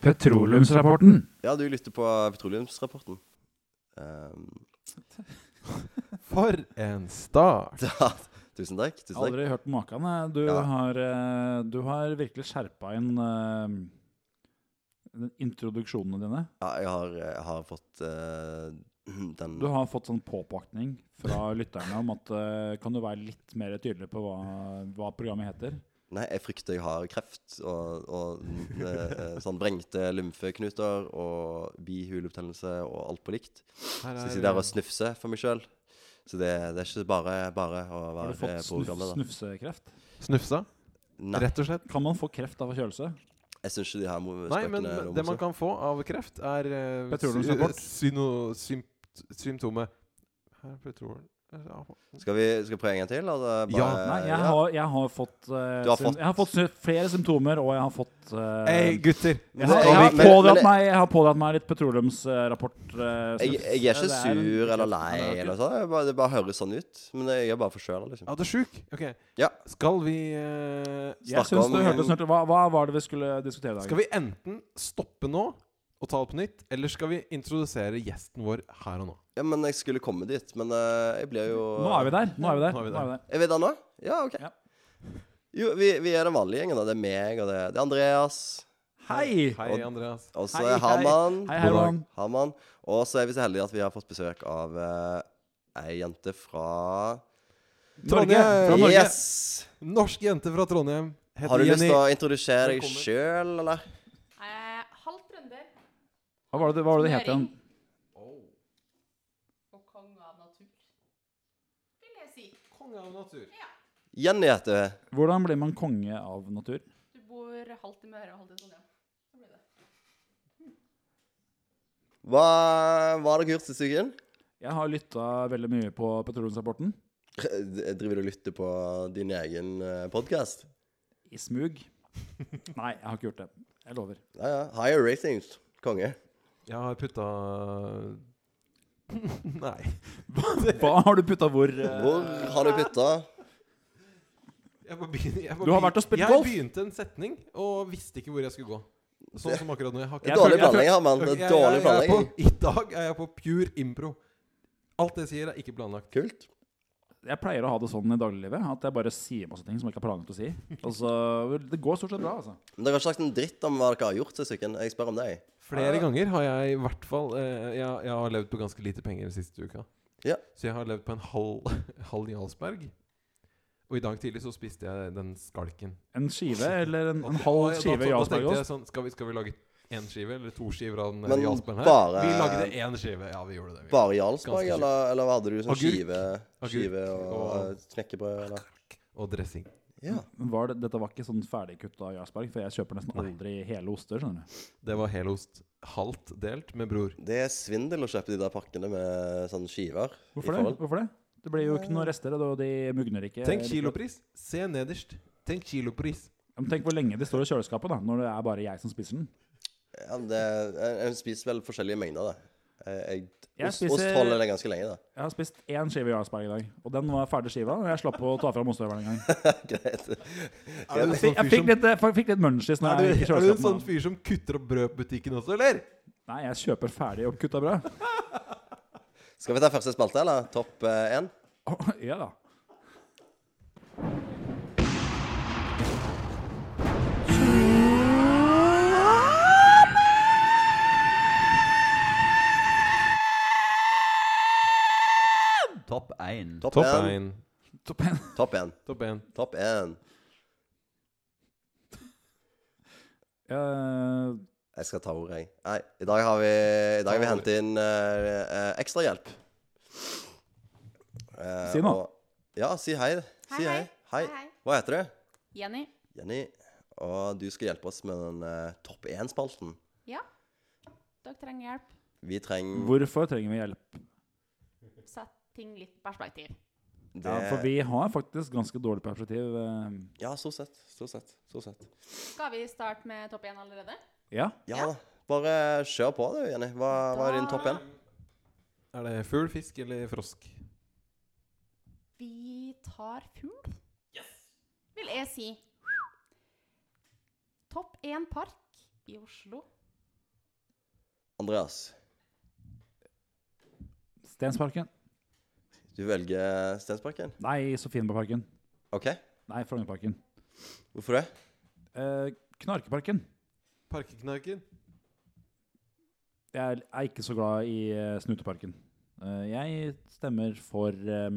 Petroleumsrapporten. Ja, du lytter på petroleumsrapporten. Ehm, For en start! da, tusen takk. Tusen takk. Aldri hørt maken. eh. Du, Ja. har, eh, du har virkelig skjerpa inn eh, den introduksjonene dine. Ja, jeg har, jeg har fått eh, den Du har fått sånn påpakning fra lytterne om at eh, Kan du være litt mer tydelig på hva, hva programmet heter? Nei, jeg frykter jeg har kreft og, og eh, sånn vrengte lymfeknuter og bihulebetennelse og alt på likt. Her Så er jeg sitter her og det- snufser for meg sjøl. Så det, det er ikke bare, bare å Har du være fått snuf, programleder. snufsekreft? Snufsa, Nei, rett og slett. Kan man få kreft av forkjølelse? jeg syns ikke de her mo- Nei, men spøkene er eh, noe det man morsomt. kan få av kreft, er eh, Petroleumsrapport. sy- syno- sympt- Symptomet Her er petroleum Ja, Skal vi skal vi prøve en gang til? eller bare, Ja. Nei, jeg har, jeg har fått, eh, Eh, Du har sym- fått- Jeg har fått sy- flere symptomer, og jeg har fått eh, Hei, gutter! jeg, Men- har, jeg, har men- pådratt men- meg, jeg har pådratt meg litt petroleumsrapport. eh, Jeg, snufs. jeg er ikke Det en- sur eller lei, Nei, det er eller ikke- sånn. Jeg bare, det bare høres sånn ut. Men jeg er bare forkjøla, liksom. Ja, du er sjuk? Ok. Ja. Skal vi eh, Jeg Snakke synes det om- hørtes snart hva, hva var det vi skulle diskutere i dag? Skal vi enten stoppe nå og ta det på nytt, eller skal vi introdusere gjesten vår her og nå? Ja, men jeg skulle komme dit. Men eh, jeg blir jo Nå er vi der. Nå er vi der. Nå er vi der. Er vi der nå? Ja, OK. Ja. Jo, vi, vi er den vanlige gjengen, da. Det er meg, og det, det er Andreas. Hei! Hei, Og- Andreas. Og så Hei, er hei. Herman. Hei, hei, God dag. Ron. Herman. Og så er vi så heldige at vi har fått besøk av eh, ei jente fra Norge. Fra Norge. Yes! Norsk jente fra Trondheim. Heter Har du lyst Jenny. til å introdusere deg Velkommen. sjøl, eller? Eh, halvt trønder. Hva var det, hva var det det het igjen? Møring. Og konge av natur, vil jeg si. Konge av natur. Jenny heter hun. Hvordan blir man konge av natur? Du bor halvt i Møre og halvt i Trondheim. Så blir det. Hva, hva har dere gjort siste uken? Jeg har lytta veldig mye på Petroleumsrapporten. Driver du og lytter på din egen eh, podkast? I smug. Nei, jeg har ikke gjort det. Jeg lover. Ja, ja. Higher ratings. Konge. Jeg har putta Nei. Hva har du putta hvor? eh? Hvor har du putta? Jeg bare begyn- jeg bare Du har begyn- vært og spilt jeg golf. begynte en setning og visste ikke hvor jeg skulle gå. Sånn som akkurat nå. Jeg har Det Jeg er føler- dårlig jeg føler- planlegging, Herman. Det Jeg- jeg- er dårlig jeg er planlegging. på- I dag er jeg på pure impro. Alt jeg sier, er ikke planlagt. Kult. Jeg pleier å ha det sånn i dagliglivet at jeg bare sier masse ting som jeg ikke har planlagt å si. Og så, Det går stort sett bra, altså. Men dere har ikke sagt en dritt om hva dere har gjort siste uken. Jeg spør om deg. Flere ganger har jeg i hvert fall eh, jeg, jeg har levd på ganske lite penger den siste uka. Ja. Så jeg har levd på en halv, halv Jarlsberg. Og i dag tidlig så spiste jeg den skalken. En skive eller en, en halv Og- og da- da skive tenkte Jarlsbergost. jeg Sånn, skal, vi- skal vi lage én skive eller to skiver av den Men eh, Jarlsbergen her? bare- Vi lagde én skive. Ja, vi gjorde det. Vi. Bare Jarlsberg, Ganske eller, eller hva hadde du sånn Agurk. skive, Agurk skive og, og- eh, knekkebrød, eller? Og dressing. Ja. Men Var det, dette var ikke sånn ferdigkutta Jarlsberg, for jeg kjøper nesten aldri hele oster. skjønner du Det var helost halvt delt med bror. Det er svindel å kjøpe de der pakkene med sånne skiver. i Hvorfor det? forhold. Hvorfor det? Det blir jo ikke noen rester, og de mugner ikke. Tenk kilopris. Se nederst. Tenk kilopris. Men Tenk hvor lenge de står i kjøleskapet, da, når det er bare jeg som spiser den. Ja, men det, jeg, jeg spiser vel forskjellige mengder, da. Jeg, Jeg jeg, ost, spiser- ost holder det ganske lenge, da. Jeg har spist én skive Jarlsberg i dag, og den var ferdig skiva. Og jeg slapp å ta fram ostehøvelen en gang. Greit. sånn Er Jeg, jeg fikk litt, eh, fikk litt munchies når Er jeg du, gikk i er du en kjøleskapet. sånn fyr som kutter opp brød på butikken også, eller? Nei, jeg kjøper ferdig oppkutta brød. Skal vi ta første spalte, eller? Topp eh, én? Å, ja da. Topp 1. Topp Topp én. én. Topp en. Topp én. Topp én. Topp én. Eh, Jeg skal ta ordet, jeg. Nei, i dag har vi, i dag har vi Ta ordet. hentet inn uh, ekstrahjelp. Eh, Si noe. og- Ja, si hei. Si hei. Hei, Hei. hei. Hei, hei. Hva heter du? Jenny. Jenny. Og du skal hjelpe oss med den eh, topp én-spalten. Ja. Dere trenger hjelp. Vi trenger hvorfor trenger vi hjelp? Sett ting litt i perspektiv. det Ja, for vi har faktisk ganske dårlig perspektiv. eh. Ja, stort sett. Stort sett. Stort sett. Skal vi starte med topp én allerede? Ja. Ja, Ja. da. Bare kjør på, du, Jenny. Hva, hva er din topp én? Er det fugl, fisk eller frosk? Vi tar fugl. Yes. Vil jeg si. Topp én park i Oslo Andreas, Stensparken. du velger Stensparken? Nei, Sofienbergparken. OK, Nei, Frognerparken. hvorfor det? Eh, Knarkeparken. Parkeknarken. Jeg er ikke så glad i eh, Snuteparken. Eh, jeg stemmer for eh,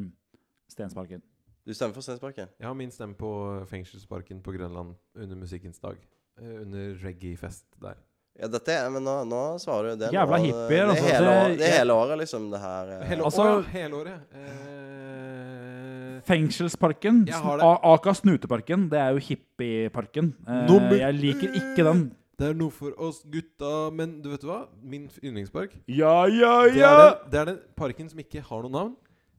Stensparken. Du stemmer for Stensparken? Jeg har min stemme på Fengselsparken på Grønland under Musikkens dag. Eh, Under reggae-fest der. Ja, dette er, men nå, nå svarer du det. er Jævla noe av- hippier, Det altså. er hele, år- Det- det er hele året, liksom, det her. eh. Hele, Altså- året, hele året. Eh, Fengselsparken. Jeg har det. A- Aka Snuteparken. Det er jo hippieparken. Eh, Nummer- jeg liker ikke den. det er noe for oss gutta, men du vet hva? Min yndlingspark Ja, ja, det, er den, det er den parken som ikke har noe navn.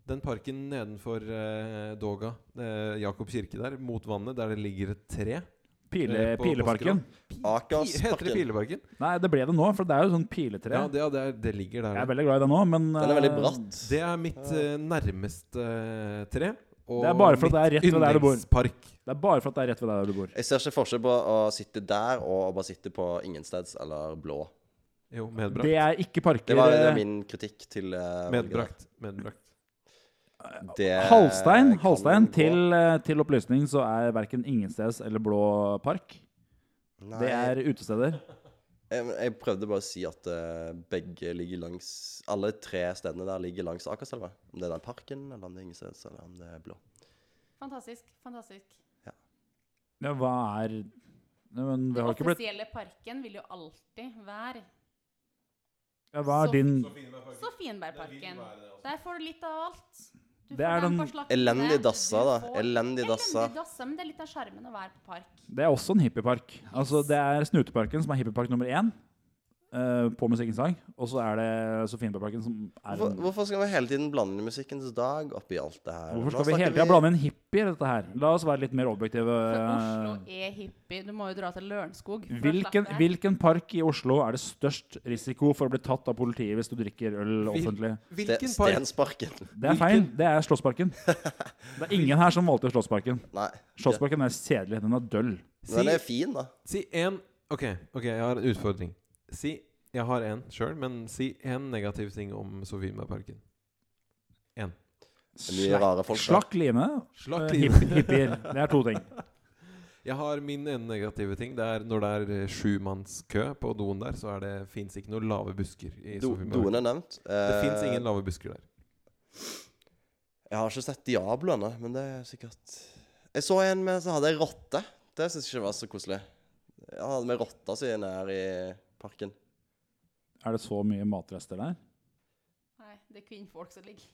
Den parken nedenfor eh, Doga, eh, Jakob kirke der, mot vannet, der det ligger et tre. Pile, eh, på pileparken. Pi- Akersparken. Heter det Pileparken? Nei, det ble det nå, for det er jo sånn piletre. Ja, det, ja, det, er, det ligger jeg er der. veldig glad i det nå, men Den er veldig eh, bratt. Det er mitt eh, nærmeste eh, tre. Og Det er bare for at det er rett ved der du bor. yndlingspark. Det er bare for at det er rett ved der du bor. Jeg ser ikke forskjell på å sitte der og å bare sitte på ingensteds eller blå. Jo, medbrakt. Det er ikke parker. eh, Det var eh, det er min kritikk til eh, valget der. Medbrakt. medbrakt. Det Halstein, eh, kan Halstein gå. til, eh, til opplysning så er verken Ingensteds eller Blå park. Nei, Det er utesteder. jeg, jeg prøvde bare å si at eh, begge ligger langs Alle tre stedene der ligger langs Akerselva. Om det er den parken, eller om det er Ingensteds, eller om det er blå. Fantastisk. Fantastisk. Ja, hva er Nei, Men vi Den har ikke blitt offisielle parken vil jo alltid være ja, Hva er din Sofienbergparken. Der får du litt av alt. Du Det er får den den forslaktede, Elendig altså, du dassa, da. får- Elendig dassa. Elendig dassa, men det er litt av sjarmen å være på park. Det er også en hippiepark. Altså, det er Snuteparken som er hippiepark nummer én eh, på Musikkens dag. Og så er det Sofienbergparken som er Hvorfor, en hvorfor skal vi hele tiden blande musikkens dag oppi alt det her? Hvorfor Nå skal vi snakker hele tida blande inn hippier i dette her? La oss være litt mer objektive. For eh, Oslo er hippie. Du må jo dra til Lørenskog. for å Hvilken, slappe av. hvilken park i Oslo er det størst risiko for å bli tatt av politiet hvis du drikker øl offentlig? Ste- Hvilken park? Stensparken. Det er feil. Det er Slottsparken. Det er ingen her som valgte Slottsparken. Nei. Slottsparken er kjedelig. Den er døll. Men Den Si- er fin, da. Si én OK, ok, jeg har en utfordring. Si Jeg har én sjøl, men si én negativ ting om Sofienbergparken. Det er mye rare folk. da. Slakk line. Slakk eh, liv. hipp- Hippier. Det er to ting. Jeg har min ene negative ting. Det er når det er eh, sjumannskø på doen der, så er det fins ikke noen lave busker i Do, doen Sofienberg. er nevnt. Det Eh, fins ingen lave busker der. Jeg har ikke sett Diablo ennå, men det er sikkert Jeg så en med som hadde ei rotte. Det syns jeg ikke var så koselig. Han hadde med rotta si nær i parken. Er det så mye matrester der? Nei, det er kvinnfolk som ligger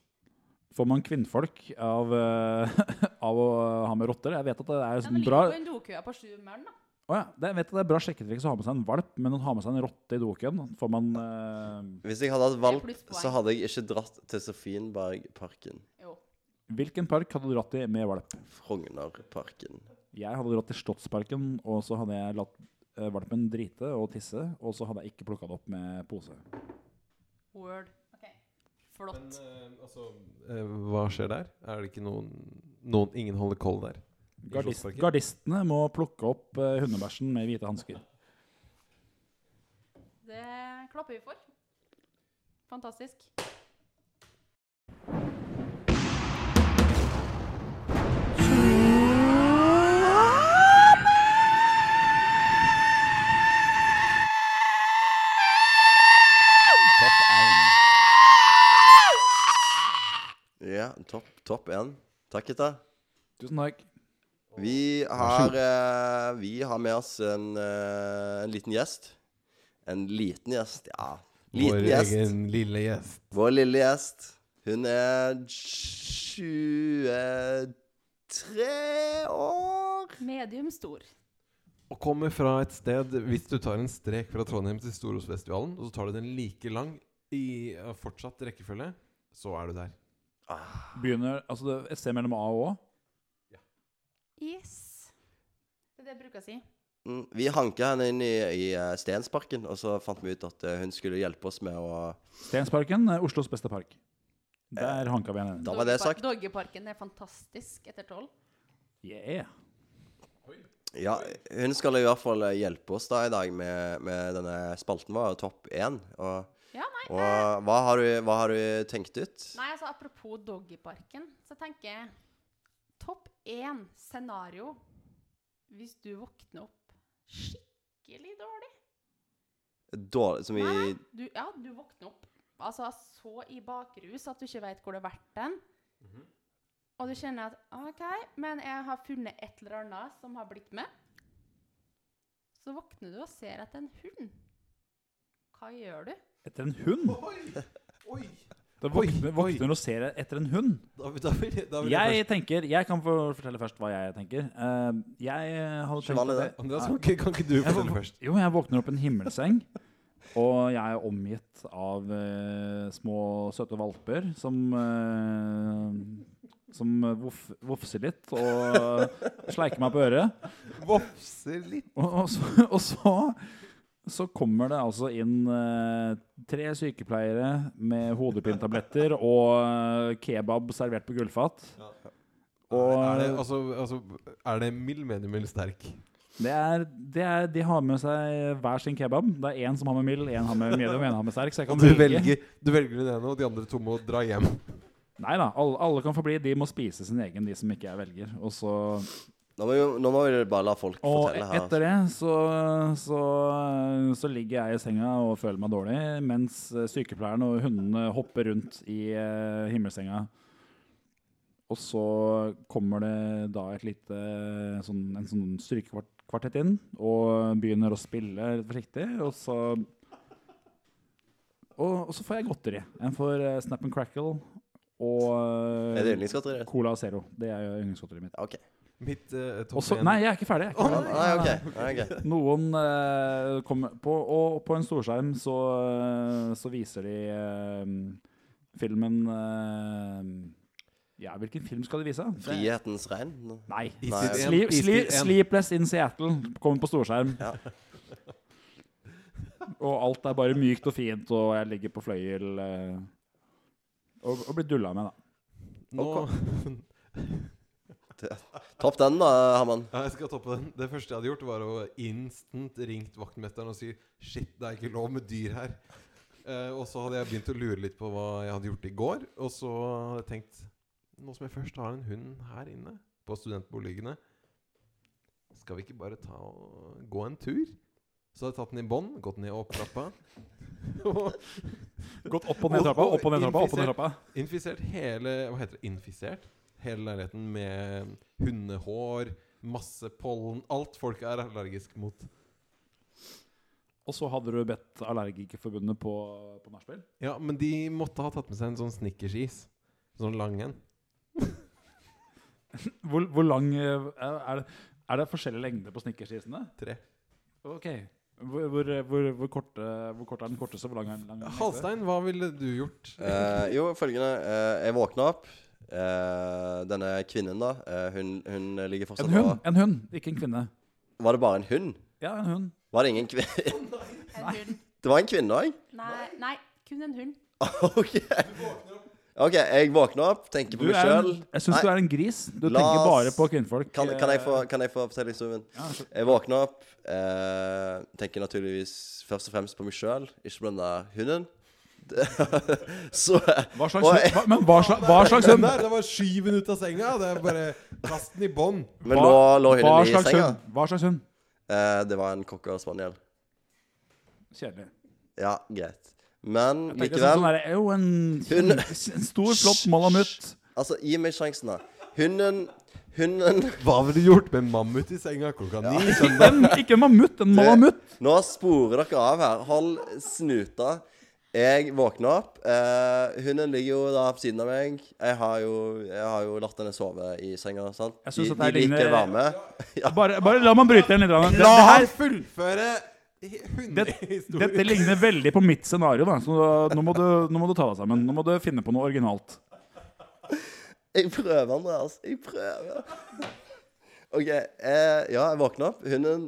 Får man kvinnfolk av, eh, av å ha med rotter? Jeg vet at det er Ja, men sånn ligger bra på en dokøa på Sjumøren, da. Å ja, det, jeg vet at det er bra sjekketriks å ha med seg en valp, men å ha med seg en rotte i dokøen Får man eh, Hvis jeg hadde hatt valp, Det er plusspoeng. så hadde jeg ikke dratt til Sofienbergparken. Jo. eh, Hvilken park hadde du dratt i med valp? Frognerparken. Jeg hadde dratt til Slottsparken, og så hadde jeg latt eh, valpen drite og tisse, og så hadde jeg ikke plukka det opp med pose. Word. Ok. Men Flott. altså Hva skjer der? Er det ikke noen, noen Ingen holder koll der? I Gardist, Slottsparken? gardistene må plukke opp eh, hundebæsjen med hvite hansker. Det klapper vi for. Fantastisk. Topp 1. Ja, topp topp én. Takk, gutta. Tusen takk. Vi har, eh, vi har med oss en, eh, en liten gjest. En liten gjest, ja. Liten Vår gjest. egen lille gjest. Vår lille gjest, hun er 23 år. Medium stor. Og kommer fra et sted Hvis du tar en strek fra Trondheim til Storosfestivalen, og så tar du den like lang i eh, fortsatt rekkefølge, så er du der. Begynner, altså det, Et sted mellom A og Å. Yes. Det er det jeg bruker å si. Mm, Vi hanka henne inn i, i eh, Stensparken, og så fant vi ut at eh, hun skulle hjelpe oss med å Stensparken er Oslos beste park. Eh, Der hanka vi henne inn. Da var det Doggepar- sagt. Doggeparken er fantastisk etter tolv. Yeah. Ja, hun skal i hvert fall eh, hjelpe oss da i dag med, med denne spalten vår, Topp 1. Og, Ja, nei. og eh, hva, har du, hva har du tenkt ut? Nei, altså apropos Doggyparken, så tenker jeg Topp én scenario hvis du våkner opp skikkelig dårlig. Dårlig Som i Nei, du, ja, du våkner opp altså så i bakrus at du ikke vet hvor du har vært den. Og du kjenner at OK, men jeg har funnet et eller annet som har blitt med. Så våkner du og ser at det er en hund. Hva gjør du? Etter en hund? Oi! Da Oi, våkner, oi. våkner og ser etter en hund. Da, vil- da vil, jeg- da vil jeg Jeg tenker, jeg kan få fortelle først hva jeg tenker. Eh, jeg hadde tenkt at Sjevanlig, det. jeg- Andreas, kan ikke, kan ikke du Jeg fortelle vå- først? Jo, jeg våkner opp i en himmelseng, og jeg er omgitt av eh, små, søte valper som eh, Som voff, vofser litt og sleiker meg på øret. Vofser litt. Og, og, så, og så så kommer det altså inn eh, tre sykepleiere med hodepinetabletter og eh, kebab servert på gullfat. Og er, det, altså, altså, er det mild, medium eller sterk? Det er, det er, de har med seg hver sin kebab. Det er én som har med mild, én har med medium, én har med sterk. Så jeg kan Du velge. velger, du velger den ene, og de andre to må dra hjem. Nei da, alle, alle kan få bli. De må spise sin egen, de som ikke jeg velger. Og, så, nå, må vi, nå må vi bare la folk og fortelle her. etter det så, så, så ligger jeg i senga og føler meg dårlig, mens eh, sykepleieren og hundene hopper rundt i eh, himmelsenga. Og så kommer det da et lite, sånn, en sånn strykekvartett inn, og begynner å spille litt forsiktig, og så og, og så får jeg godteri. Jeg får eh, Snap and Crackle og eh, Er det yndlingsgodteriet? Cola Zero. Det er yndlingsgodteriet mitt. OK. Mitt eh, topp Og så- en- nei, jeg er ikke ferdig. Jeg er ikke Nei, ferdig. nei, ok. Nei, ok. Noen eh, kommer på, Og på en storskjerm så, eh, så viser de eh, filmen eh, Ja, hvilken film skal de vise? Det- Frihetens regn? Nå- Nei. Nei, Istid ok. en, Sleep, istid sleep, en. sleepless in Seattle kommer på storskjerm. Ja. Og alt er bare mykt og fint, og jeg ligger på fløyel eh, og, og blir dulla med, da. Nå, Topp den, da, Herman. ja, jeg skal toppe den. Det første jeg hadde gjort, var å instant ringt vaktmesteren og si Shit, det er ikke lov med dyr her. Eh, og så hadde jeg begynt å lure litt på hva jeg hadde gjort i går. Og så hadde jeg tenkt Nå som jeg først har en hund her inne, på studentboligene, skal vi ikke bare ta og gå en tur? Så hadde jeg tatt den i bånd, gått ned og opp trappa. og Gått opp og ned trappa, opp og ned trappa, opp og ned trappa. Infisert hele Hva heter det? Infisert? Hele leiligheten med hundehår, masse pollen Alt folk er allergisk mot. Og så hadde du bedt Allergikerforbundet på, på nachspiel? Ja, men de måtte ha tatt med seg en sånn snickersis. Sånn lang en. Hvor, hvor lang eh, er det, er det forskjellig lengde på snickersisene? Tre. Ok. Hvor, hvor, eh, hvor, hvor, korte, hvor kort er den korteste? Hvor lang er den? lang er den lengste? Halstein, hva ville du gjort? Eh, jo, følgende. eh, jeg våkna opp. Eh, denne kvinnen, da, eh, hun, hun ligger fortsatt En hund! En hund, ikke en kvinne. og- Var det bare en hund? Ja, en hund. Var det ingen kvinne? En hund. Det var en kvinne òg? Nei, nei, kun en hund. OK. Ok, Jeg våkner opp, tenker på Du meg er en, sjøl. jeg syns du er en gris. Du La tenker bare oss- på kvinnfolk. Kan, kan, jeg få, kan jeg få fortelle historien? Ja, altså, så- Jeg våkner opp, eh, tenker naturligvis først og fremst på meg sjøl, ikke på den der hunden. Så Hva slags Og hund? jeg- Hva, men hva slags, hva slags Den hund? der, det var skyv den ut av senga! Det er bare Kast den i bånd! Men Hva- nå lå Hva hunden i slags senga. hund? Hva slags hund? Eh, det var en cocker spaniel. Kjedelig. Ja, greit. Men Jeg tenker sånn, likevel sånn der, jo, en, Hund. en stor, flott malamut. Altså, gi meg sjansen, da. Hunden Hunden Hva ville du gjort med mammut i senga klokka ni? Ikke en, ikke en mammut, en malamut. Nå sporer dere av her. Hold snuta. Jeg våkner opp. Eh, hunden ligger jo da på siden av meg. Jeg har jo, jeg har jo latt henne sove i senga. sant? Jeg synes de, at det de liker ligner- varme. Bare, bare la meg bryte igjen litt. Rann. Det, La det her han fullføre Det- hundehistorien! Dette ligner veldig på mitt scenario, da. Så nå må, du, nå må du ta deg sammen. Nå må du finne på noe originalt. Jeg prøver, Andreas. Jeg prøver. OK. Eh, ja, jeg våkner opp. Hunden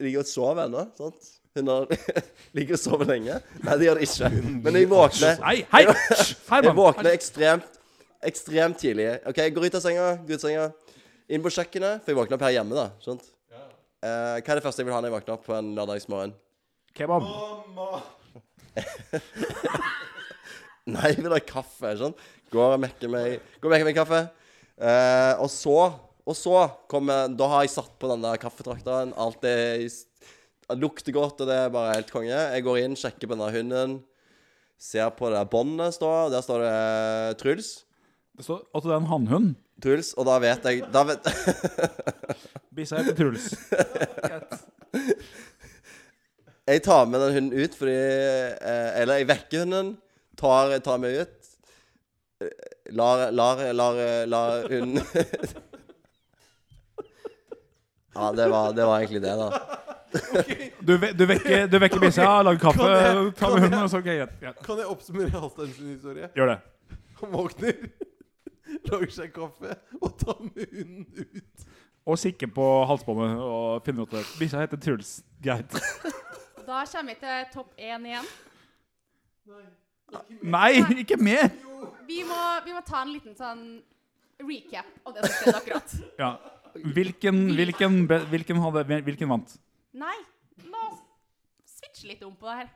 ligger og sover ennå. sant? Hunder ligger og sover lenge. Nei, det gjør det ikke. Men jeg våkner. Nei, hei! Hysj! Her, Jeg mann. våkner ekstremt Ekstremt tidlig. OK, jeg går ut av senga, går ut av senga. Inn på kjøkkenet, for jeg våkner opp her hjemme, da. Skjønt? Eh, hva er det første jeg vil ha når jeg våkner opp på en lørdagsmorgen? Kebab. Nei, jeg vil ha kaffe. Sånn. Går og mekker meg Går og mekker meg kaffe. Eh, og så Og så kommer Da har jeg satt på den der kaffetrakteren. Alt er i s- det lukter godt, og det er bare helt konge. Jeg går inn, sjekker på den der hunden. Ser på det der båndet står. Der står det Truls. Det står at det er en hannhund. Truls, og da vet jeg Da vet Bikkja heter Truls. Jeg tar med den hunden ut fordi eh, Eller jeg vekker hunden, tar, tar meg ut. eh, Lar, lar, lar, lar hunden Ja, det var, det var egentlig det, da. Du, ve du vekker, du vekker bikkja, lager kaffe, Kan jeg- tar kan med hunden, jeg- og så ok, greit. Ja. Kan jeg oppsummere Halstein sin historie? Gjør det. Han våkner, lager seg kaffe og tar med hunden ut. Og kikker på halsbåndet og finner ut at bikkja heter Truls. Greit. Da kommer vi til topp én igjen. Nei, ikke mer! Vi må, vi må ta en liten sånn recap av det som skjedde akkurat. Ja. Hvilken, hvilken, be- hvilken, hadde, hvilken vant? Nei, la oss switche litt om på det her.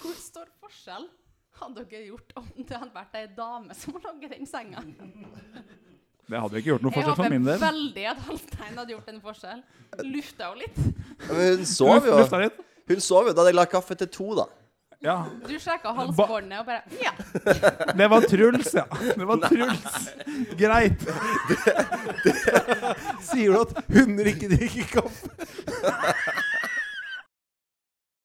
Hvor stor forskjell hadde dere gjort om det hadde vært ei dame som lå i den senga? Det hadde jo ikke gjort noe Jeg forskjell for håper min del. veldig at Halstein hadde gjort en forskjell. Lufta jo litt. Men hun sov jo. Lufta litt. Hun sov jo. Da hadde jeg lagt kaffe til to, da. Ja. Du sjekka halsbåndet og bare Ja, Det var Truls, ja. Det var Truls. Greit. Sier du at hunder ikke drikker kaffe?